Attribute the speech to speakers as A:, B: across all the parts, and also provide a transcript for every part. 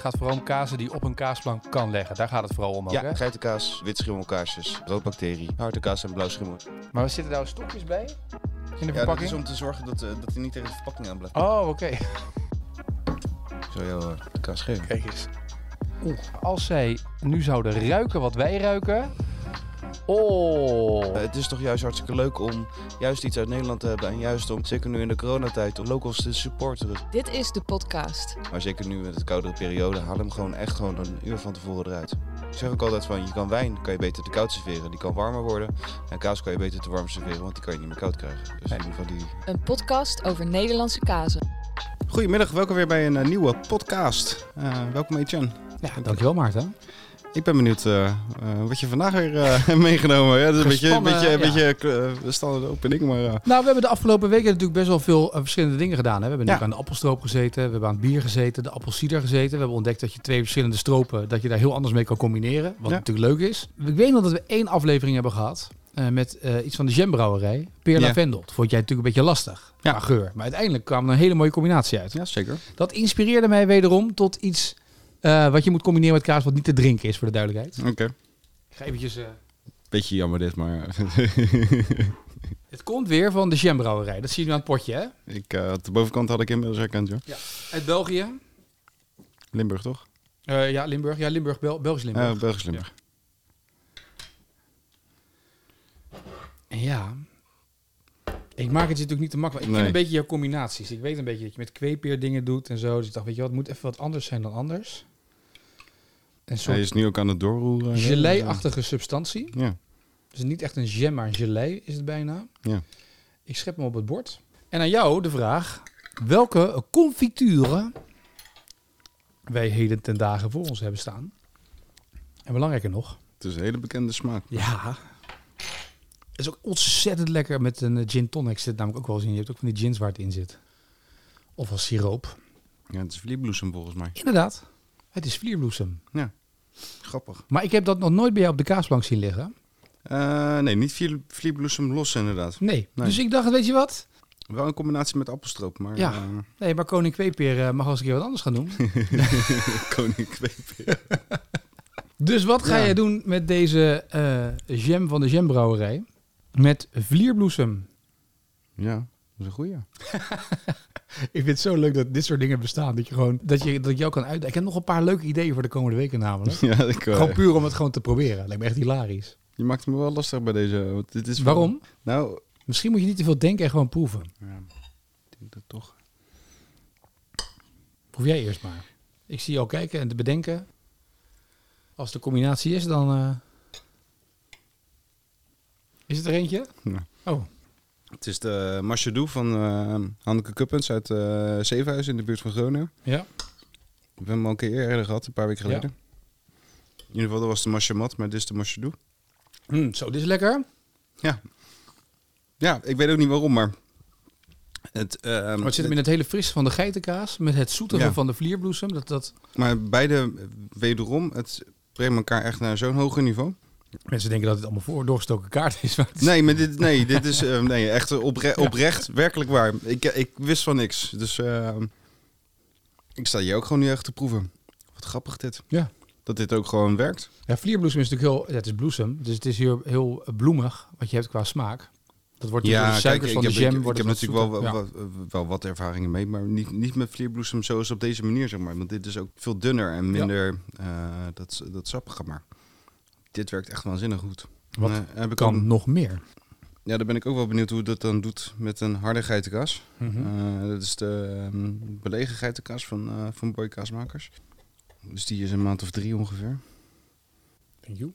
A: gaat vooral om kazen die op een kaasplank kan leggen. Daar gaat het vooral om ook, hè?
B: Ja, geitenkaas, wit schimmelkaasjes, roodbacterie, harde kaas en blauw schimmel.
A: Maar we zitten daar stokjes bij? In
B: Ja,
A: de
B: dat
A: verpakking?
B: is om te zorgen dat, eh, dat hij niet tegen de verpakking aan blijft.
A: Oh, oké.
B: Zo jou eh, de kaas geven.
A: Kijk eens. Oeh, als zij nu zouden ruiken wat wij ruiken. Oh.
B: Eh, het is toch juist hartstikke leuk om juist iets uit Nederland te hebben. En juist om, zeker nu in de coronatijd, om locals te supporteren.
C: Dit is de podcast.
B: Maar zeker nu met het koudere periode, haal hem gewoon echt gewoon een uur van tevoren eruit. Ik zeg ook altijd van, je kan wijn, kan je beter te koud serveren. Die kan warmer worden. En kaas kan je beter te warm serveren, want die kan je niet meer koud krijgen. Dus in ieder geval die...
C: Een podcast over Nederlandse kazen.
B: Goedemiddag, welkom weer bij een eh, nieuwe podcast. Eh, welkom Etienne.
A: Ja, dankjewel Maarten.
B: Ik ben benieuwd eh, eh, wat je vandaag weer eh, hebt meegenomen. Ja, dat is een beetje, een
A: Gespannen,
B: beetje, een
A: ja.
B: beetje eh, standaard opening, maar... eh,
A: Nou, we hebben de afgelopen weken natuurlijk best wel veel eh, verschillende dingen gedaan. Hè? We hebben
B: Ja.
A: natuurlijk aan de appelstroop gezeten, we hebben aan het bier gezeten, de appelsieder gezeten. We hebben ontdekt dat je twee verschillende stropen, dat je daar heel anders mee kan combineren. Wat
B: Ja.
A: natuurlijk leuk is. Ik weet nog dat we één aflevering hebben gehad eh, met eh, iets van de jambrouwerij. Peer
B: Ja.
A: Lavendel. Dat vond jij natuurlijk een beetje lastig
B: Ja.
A: qua geur. Maar uiteindelijk kwam er een hele mooie combinatie uit.
B: ja, zeker.
A: Dat inspireerde mij wederom tot iets eh, wat je moet combineren met kaas wat niet te drinken is, voor de duidelijkheid.
B: Oké.
A: Ik ga eventjes... eh,
B: Beetje jammer dit, maar...
A: het komt weer van de jambrouwerij. Dat zie je nu aan het potje, hè?
B: ik, eh, de bovenkant had ik inmiddels herkend, joh.
A: Uit België.
B: Limburg, toch?
A: Eh, ja, Limburg. Ja, Limburg. Bel Belgisch Limburg.
B: Eh, Belgisch Limburg. Eh,
A: ja. Ik maak het je natuurlijk niet te makkelijk. Ik
B: Nee.
A: ken een beetje jouw combinaties. Ik weet een beetje dat je met kweepeer dingen doet en zo. Dus ik dacht, weet je wat, het moet even wat anders zijn dan anders. Een
B: Hij
A: soort
B: is nu ook aan het doorroeren. dus, eh,
A: gelei-achtige substantie.
B: Ja.
A: Dus niet echt een jam, maar een gelei is het bijna.
B: Ja.
A: Ik schep hem op het bord. En aan jou de vraag, welke confituren wij heden ten dagen voor ons hebben staan. En belangrijker nog,
B: Het is een hele bekende smaak.
A: ja, het is ook ontzettend lekker met een eh, gin tonic zit namelijk ook wel eens in. Je hebt ook van die gins waar het in zit. Of als siroop.
B: Ja, het is vlierbloesem volgens mij.
A: Inderdaad, het is vlierbloesem.
B: Grappig.
A: Maar ik heb dat nog nooit bij jou op de kaasplank zien liggen.
B: Eh, nee, niet vlier- vlierbloesem los inderdaad.
A: Nee.
B: Nee.
A: Dus ik dacht, weet je wat?
B: Wel in combinatie met appelstroop, maar...
A: Ja.
B: eh,
A: Nee, maar koning kweepeer eh, mag als een keer wat anders gaan doen.
B: koning kweeper.
A: Dus wat ga
B: Ja.
A: je doen met deze eh jam van de jambrouwerij? Met vlierbloesem.
B: Ja, dat is een goeie.
A: Ik vind het zo leuk dat dit soort dingen bestaan. Dat je gewoon dat je dat ik jou kan uitdagen. Ik heb nog een paar leuke ideeën voor de komende weken namelijk.
B: Ja, ik, eh,
A: Gewoon puur om het gewoon te proberen. Lijkt me echt hilarisch.
B: je maakt me wel lastig bij deze. Want dit is wel-
A: Waarom?
B: Nou,
A: Misschien moet je niet te veel denken en gewoon proeven.
B: ja, ik denk dat toch.
A: Proef jij eerst maar. Ik zie je al kijken en te bedenken. Als de combinatie is, dan. eh, Is het er eentje?
B: Ja.
A: Oh,
B: Het is de Marchadou van eh, Hanneke Kuppens uit eh Zevenhuizen in de buurt van Groningen.
A: ja.
B: We hebben hem al een keer eerder gehad, een paar weken
A: Ja.
B: geleden. In ieder geval, dat was de Marchamat, maar dit is de Marchadou.
A: Mm, zo, dit is lekker.
B: Ja. Ja, ik weet ook niet waarom, maar... Het, eh,
A: Maar het zit hem in het hele fris van de geitenkaas. Met het zoetige
B: Ja.
A: van de vlierbloesem. Dat, dat...
B: Maar beide, eh, wederom, het brengt elkaar echt naar zo'n hoger niveau.
A: Mensen denken dat het allemaal voor doorgestoken kaart is. Maar het is-
B: Nee, maar dit, nee, dit is eh, nee, echt opre- oprecht, werkelijk waar. Ik, ik wist van niks. Dus eh, ik sta hier ook gewoon nu echt te proeven. Wat grappig dit.
A: Ja.
B: Dat dit ook gewoon werkt.
A: Ja, vlierbloesem is natuurlijk heel... ja, het is bloesem. Dus het is hier heel bloemig wat je hebt qua smaak. Dat wordt door de suikers van de
B: ik,
A: jam.
B: ik,
A: wordt
B: heb
A: het
B: natuurlijk
A: wat
B: wel, wel,
A: zoeter. Ja.
B: wel- wel wat ervaringen mee, maar niet, niet met vlierbloesem zoals op deze manier, zeg maar. Want dit is ook veel dunner en minder eh, dat, dat sappiger, maar dit werkt echt waanzinnig goed.
A: Wat
B: Eh, heb ik
A: kan
B: een-
A: nog meer.
B: Ja, daar ben ik ook wel benieuwd hoe dat dan doet met een harde geitenkaas.
A: Mhm.
B: Eh, dat is de ehm, belegen geitenkaas van, eh van Boy Kaasmakers. Dus die is een maand of drie ongeveer.
A: Thank you.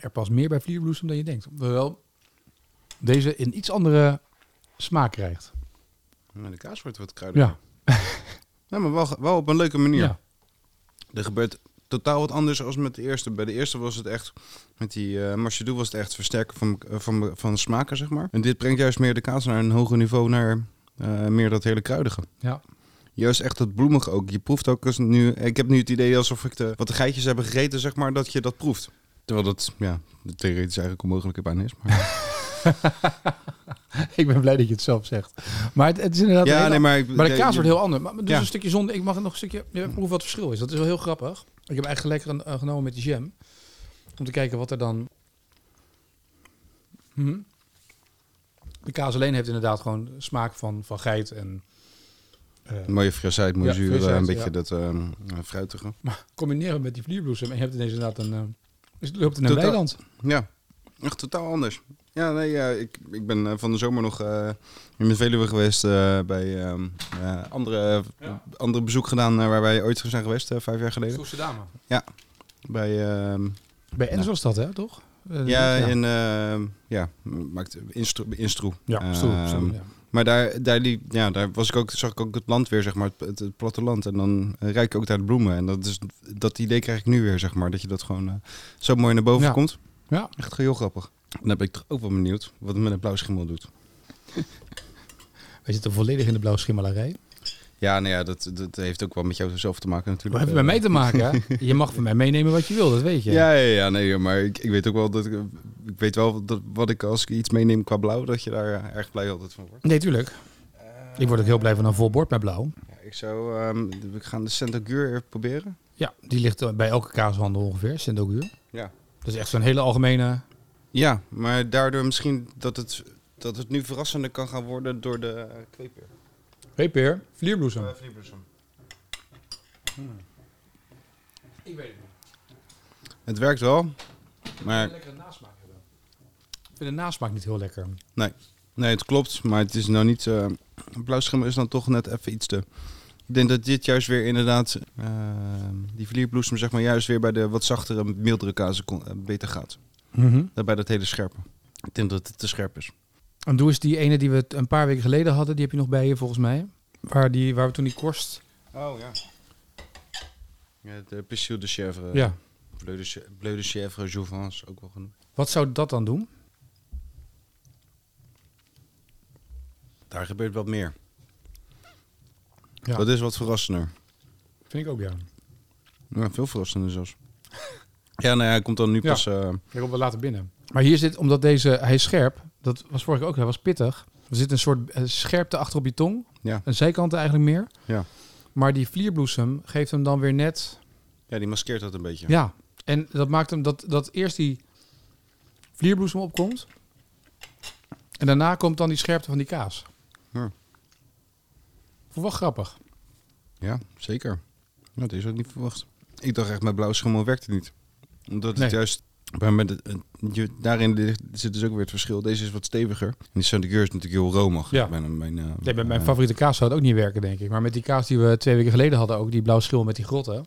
A: Er past meer bij vlierbloesem dan je denkt. Hoewel deze een iets andere smaak krijgt.
B: En de kaas wordt wat kruidiger.
A: Ja.
B: Ja, maar wel, wel op een leuke manier.
A: ja.
B: Er gebeurt totaal wat anders als met de eerste. Bij de eerste was het echt, met die eh Marchadou was het echt versterken van, eh, van, van de smaken, zeg maar. En dit brengt juist meer de kaas naar een hoger niveau, naar eh, meer dat hele kruidige.
A: ja.
B: Juist echt dat bloemig ook. Je proeft ook als nu. Ik heb nu het idee alsof ik de, wat de geitjes hebben gegeten, zeg maar, dat je dat proeft. Terwijl dat, ja, theoretisch eigenlijk onmogelijk bijna is. Maar
A: ik ben blij dat je het zelf zegt. Maar het, het is inderdaad... een
B: Ja,
A: hele-
B: nee, maar... ik-
A: maar de
B: ja,
A: kaas
B: je-
A: wordt heel anders. Maar, dus
B: Ja.
A: een stukje zonde. Ik mag nog een stukje ja, proeven wat het verschil is. Dat is wel heel grappig. Ik heb eigenlijk lekker een, eh, genomen met die jam. Om te kijken wat er dan... Hm. De kaas alleen heeft inderdaad gewoon smaak van, van geit en... eh,
B: Een mooie frisheid, mooie
A: Ja,
B: zuur,
A: frisheid,
B: een beetje
A: ja.
B: dat ehm, fruitige.
A: maar combineren met die vlierbloesem en je hebt ineens inderdaad een... eh, dus het loopt in een
B: Totaal-
A: weiland.
B: Ja, echt totaal anders. Ja, nee, ja, ik, ik ben eh, van de zomer nog eh, in de Veluwe geweest eh, bij ehm, eh, andere, andere bezoek gedaan eh, waar wij ooit zijn geweest, eh, vijf jaar geleden.
A: Soeste dame.
B: Bij, ehm,
A: Bij Ens was dat, hè, toch? Eh,
B: ja, in, ehm, ja, maakt instro, instro.
A: Ja, stoel, stoel,
B: Ehm,
A: ja.
B: Maar daar, daar, liep, ja, daar was ik ook, zag ik ook het land weer, zeg maar, het, het, het platteland. En dan eh, ruik ik ook daar de bloemen. En dat, is, dat idee krijg ik nu weer, zeg maar. Dat je dat gewoon eh, zo mooi naar boven
A: Ja.
B: komt.
A: Ja.
B: Echt heel grappig. En dan ben ik toch ook wel benieuwd wat het met een blauw schimmel doet.
A: Wij zitten volledig in de blauwe schimmelarij.
B: Ja, nou ja, dat, dat heeft ook wel met jou zelf te maken
A: Maar
B: natuurlijk. Eh,
A: heeft het met mij te maken, hè? Je mag van mij meenemen wat je wil, dat weet je.
B: Ja, ja, ja, nee, maar ik, ik weet ook wel dat ik, ik weet wel dat wat ik als ik iets meeneem qua blauw, dat je daar eh, erg blij altijd van wordt.
A: Nee, tuurlijk. Ik word ook heel blij van een vol bord met blauw.
B: Ja, ik zou, ehm we gaan de Centagur even proberen.
A: Ja, die ligt eh, bij elke kaashandel ongeveer, Sindoguur.
B: Ja.
A: Dat is echt zo'n hele algemene...
B: Ja, maar daardoor misschien dat het, dat het nu verrassender kan gaan worden door de eh, kweeper.
A: Hey Peer, vlierbloesem.
B: Eh, vlierbloesem.
A: Ik weet het niet.
B: Het werkt wel, maar
A: lekkere nasmaak hebben. Ik vind de nasmaak niet heel lekker.
B: nee, het klopt. Maar het is nou niet. eh blauwschimmel is dan toch net even iets te. Ik denk dat dit juist weer inderdaad eh, die vlierbloesem zeg maar juist weer bij de wat zachtere, mildere kazen kon- eh, beter gaat.
A: Mhm.
B: Daarbij dat hele scherpe. Ik denk dat het te scherp is.
A: En doe eens die ene die we het een paar weken geleden hadden. Die heb je nog bij je, volgens mij. Waar, die, waar we toen die korst...
B: Oh ja. ja de Pissou de Chèvre. eh,
A: Ja.
B: Bleu de, Chè- Bleu de Chèvre Jouvence ook wel genoemd.
A: Wat zou dat dan doen?
B: Daar gebeurt wat meer.
A: Ja.
B: Dat is wat verrassender.
A: Vind ik ook, ja.
B: Ja, veel verrassender zelfs. ja, nou ja, hij komt dan nu
A: Ja.
B: pas... eh,
A: Ik kom wel later binnen. Maar hier zit, omdat deze, hij is scherp. Dat was vorige keer ook, hij was pittig. Er zit een soort eh, scherpte achter op je tong.
B: Ja.
A: Een zijkant eigenlijk meer.
B: Ja.
A: Maar die vlierbloesem geeft hem dan weer net...
B: ja, die maskeert dat een beetje.
A: Ja. En dat maakt hem dat, dat eerst die vlierbloesem opkomt. En daarna komt dan die scherpte van die kaas.
B: Ja.
A: Vond ik wel grappig.
B: Ja, zeker. Dat is ook niet verwacht. Ik dacht echt, met blauw schimmel werkt het niet. Omdat het
A: Nee.
B: juist... Maar met het- het- je- daarin ligt- zit dus ook weer het verschil. Deze is wat steviger. En die Sandigeur is natuurlijk heel romig.
A: Ja.
B: Ik ben- mijn, eh,
A: Nee, met mijn
B: eh,
A: favoriete kaas zou het ook niet werken, denk ik. Maar met die kaas die we twee weken geleden hadden, ook die blauw schil met die grotten,
B: Dat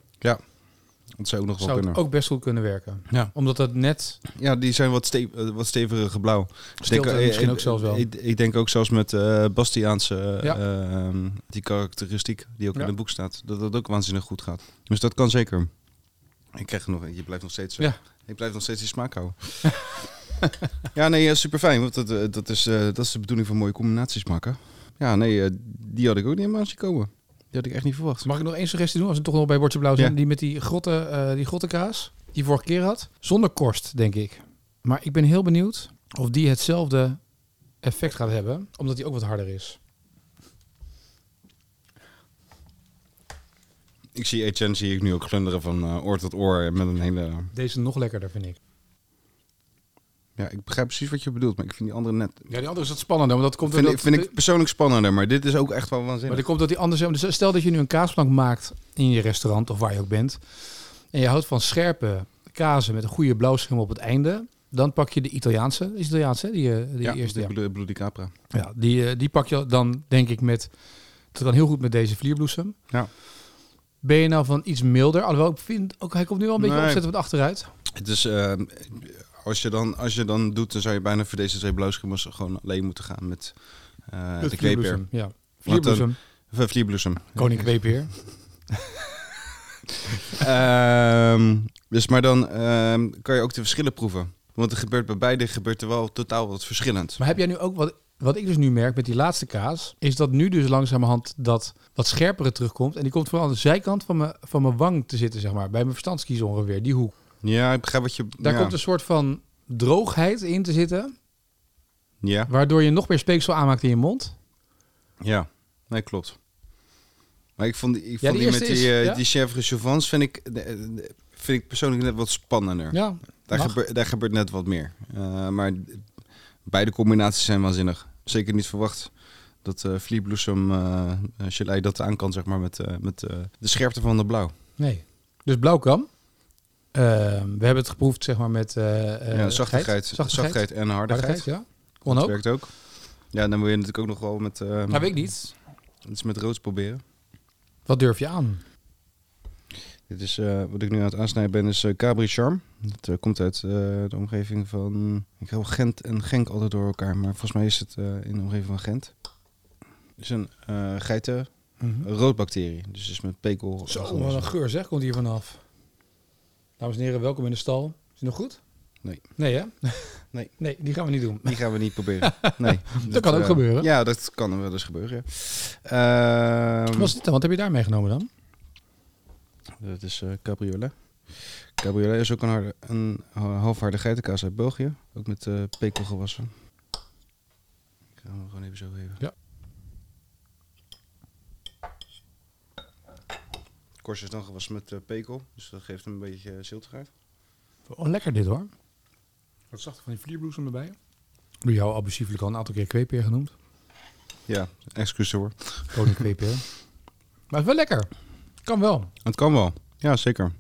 B: zou ook nog wel
A: zou
B: kunnen.
A: het ook best goed kunnen werken.
B: Ja.
A: Omdat dat net
B: Ja, die zijn wat, ste eh, wat steviger blauw.
A: stilte
B: eh,
A: misschien
B: eh,
A: ook zelfs wel.
B: Ik, ik denk ook zelfs met eh, Bastiaanse,
A: Ja.
B: eh, ehm, die karakteristiek die ook
A: Ja.
B: in het boek staat, dat dat ook waanzinnig goed gaat. Dus dat kan zeker. Ik krijg er nog, een- je blijft nog steeds, eh,
A: Ja.
B: ik blijf nog steeds die smaak houden. ja, nee, super fijn, want dat, eh, dat, is, eh, dat is de bedoeling van mooie combinaties maken. Ja, nee, eh, die had ik ook niet helemaal zien komen. Die had ik echt niet verwacht.
A: Dus Mag ik nog één suggestie doen? Als we toch nog bij Bordje Blauw zijn.
B: Ja.
A: Die met die, grotte, eh, die grottenkaas. Die vorige keer had. Zonder korst, denk ik. Maar ik ben heel benieuwd of die hetzelfde effect gaat hebben. Omdat die ook wat harder is.
B: Ik zie Etienne zie ik nu ook glunderen van eh, oor tot oor met een hele...
A: Deze nog lekkerder, vind ik.
B: Ja, ik begrijp precies wat je bedoelt, maar ik vind die andere net...
A: Ja, die andere is wat spannender. Want dat komt
B: Vind, ik,
A: omdat,
B: vind ik persoonlijk spannender, maar dit is ook echt wel
A: Maar
B: waanzinnig.
A: dat komt dat die anders Dus stel dat je nu een kaasplank maakt in je restaurant of waar je ook bent. En je houdt van scherpe kazen met een goede blauwschimmel op het einde. Dan pak je de Italiaanse. Is het Italiaanse, hè? die, eh, die eerste. ja.
B: de Blue- Blue Di Capra.
A: Ja, die, eh, die pak je dan denk ik met... Het kan heel goed met deze vlierbloesem.
B: Ja.
A: Ben je nou van iets milder? Alhoewel, ik vind ook, hij komt nu wel een beetje
B: Nee.
A: opzetten wat achteruit.
B: Het is, eh, als, je dan, als je dan doet, dan zou je bijna voor deze twee blauwschimmels gewoon alleen moeten gaan met eh de kweeper.
A: vlierbloesem, Ja, vlierbloesem.
B: Of, eh, vlierbloesem.
A: Koning kweeper.
B: Ehm, dus maar dan ehm, kan je ook de verschillen proeven. Want er gebeurt bij beide gebeurt er wel totaal wat verschillend.
A: Maar heb jij nu ook wat... Wat ik dus nu merk met die laatste kaas, is dat nu dus langzamerhand dat wat scherpere terugkomt. En die komt vooral aan de zijkant van mijn, van mijn wang te zitten, zeg maar. Bij mijn verstandskies ongeveer, die hoek.
B: Ja, ik begrijp wat je...
A: Daar dus-
B: ja.
A: komt een soort van droogheid in te zitten.
B: Ja,
A: Waardoor je nog meer speeksel aanmaakt in je mond.
B: ja. Nee, klopt. Maar ik vond die, ik
A: Ja,
B: vond
A: die
B: die met
A: eerste
B: die,
A: is-
B: eh,
A: ja.
B: die chèvre chauvins vind ik, eh, eh, vind ik persoonlijk net wat spannender.
A: Ja,
B: Daar,
A: Mag.
B: gebeurt daar gebeurt net wat meer. Eh, maar beide combinaties zijn waanzinnig. Zeker niet verwacht dat eh Vliebloesem eh eh, Chalet dat aan kan, zeg maar, met, eh, met eh, de scherpte van de blauw.
A: nee. Dus blauwkam. Ehm, we hebben het geproefd, zeg maar, met eh, eh,
B: ja, zachtigheid,
A: geit.
B: zachtheid, en
A: Hardigheid,
B: hardigheid.
A: ja. Kon
B: Dat
A: ook.
B: werkt ook. Ja, dan wil je natuurlijk ook nog wel met, eh,
A: Heb ik niet.
B: iets met roods proberen.
A: Wat durf je aan?
B: Dit is, eh, wat ik nu aan het aansnijden ben, is eh, Cabri Charm. Dat eh, komt uit eh, de omgeving van... Ik hou Gent en Genk altijd door elkaar, maar volgens mij is het eh, in de omgeving van Gent. Het is een eh geiten... Een roodbacterie. Dus is met pekel.
A: Mhm. Zo, wat een geur zeg, komt hier vanaf. Dames en heren, welkom in de stal. Is het nog goed?
B: Nee.
A: Nee hè?
B: Nee.
A: Nee, die gaan we niet doen.
B: Die gaan we niet proberen. Nee.
A: Dat kan ook
B: eh,
A: gebeuren.
B: Ja, dat kan wel eens gebeuren. ja. Ehm,
A: Wat was dit dan? Wat heb je daar meegenomen dan?
B: dat is eh, cabriolet. Cabriolet is ook een, harde, een ha- halfharde geitenkaas uit België. Ook met eh, pekel gewassen. Ik ga hem gewoon even zo geven.
A: Ja.
B: Kors is dan gewassen met eh, pekel. Dus dat geeft hem een beetje uh, ziltigheid.
A: Oh, lekker dit hoor. Wat zacht van die vlierbloesem erbij. Door jou abusieflijk al een aantal keer kweepeer genoemd.
B: Ja, excuus hoor.
A: Koning kweepeer. maar het is wel lekker. Kan wel.
B: Het kan wel. Ja, zeker.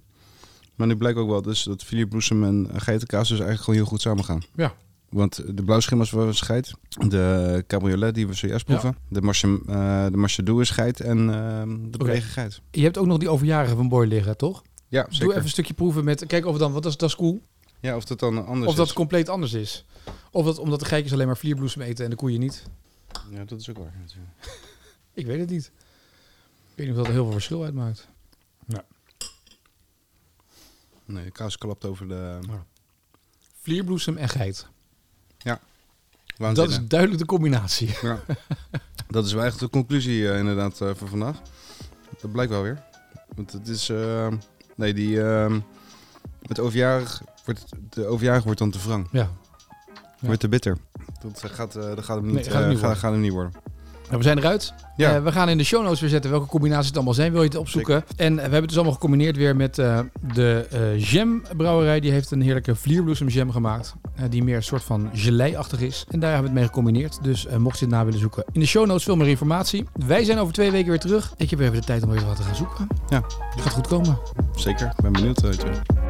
B: Maar nu blijkt ook wel dus dat filibloesem en geitenkaas dus eigenlijk gewoon heel goed samengaan.
A: Ja.
B: Want de blauwschimmers waren scheid, de cabriolet die we zojuist
A: Ja.
B: proeven, de, marche, eh de marchedoe is scheid en ehm, de
A: Oké.
B: brege geit.
A: Je hebt ook nog die overjarige van Boy liggen, toch?
B: Ja, zeker.
A: Doe even een stukje proeven met... Kijk of het dan... Want dat is, dat is cool.
B: Ja, of dat dan anders
A: of dat
B: is.
A: compleet anders is. Of dat omdat de geitjes alleen maar vlierbloesem eten en de koeien niet.
B: Ja, dat is ook waar. natuurlijk.
A: Ik weet het niet. Ik weet niet of dat er heel veel verschil uitmaakt.
B: Nee, de kaas klapt over de...
A: Vlierbloesem en geit. Dat
B: waanzinnig.
A: is duidelijk de combinatie.
B: Ja. dat is wel echt de conclusie eh, inderdaad eh, voor vandaag. Dat blijkt wel weer. Want het is... eh, nee, die... ehm, het overjarig wordt, de overjarig wordt dan te wrang.
A: Ja. Ja.
B: Wordt te bitter. Dat eh, gaat, eh, dat gaat hem niet,
A: Nee, gaat hem
B: eh,
A: niet
B: gaat,
A: worden.
B: gaat hem niet worden.
A: Nou, we zijn eruit.
B: Ja,
A: Eh, we gaan in de show notes weer zetten welke combinaties het allemaal zijn. Wil je het opzoeken? En we hebben het dus allemaal gecombineerd weer met eh, de eh jambrouwerij. Die heeft een heerlijke vlierbloesemjam gemaakt. eh, die meer een soort van gelei-achtig is. En daar hebben we het mee gecombineerd. Dus eh, mocht je het na willen zoeken. In de show notes veel meer informatie. Wij zijn over twee weken weer terug. Ik heb weer even de tijd om even wat te gaan zoeken.
B: Ja.
A: Het gaat goed komen.
B: zeker. Ik ben benieuwd. eh, Teun.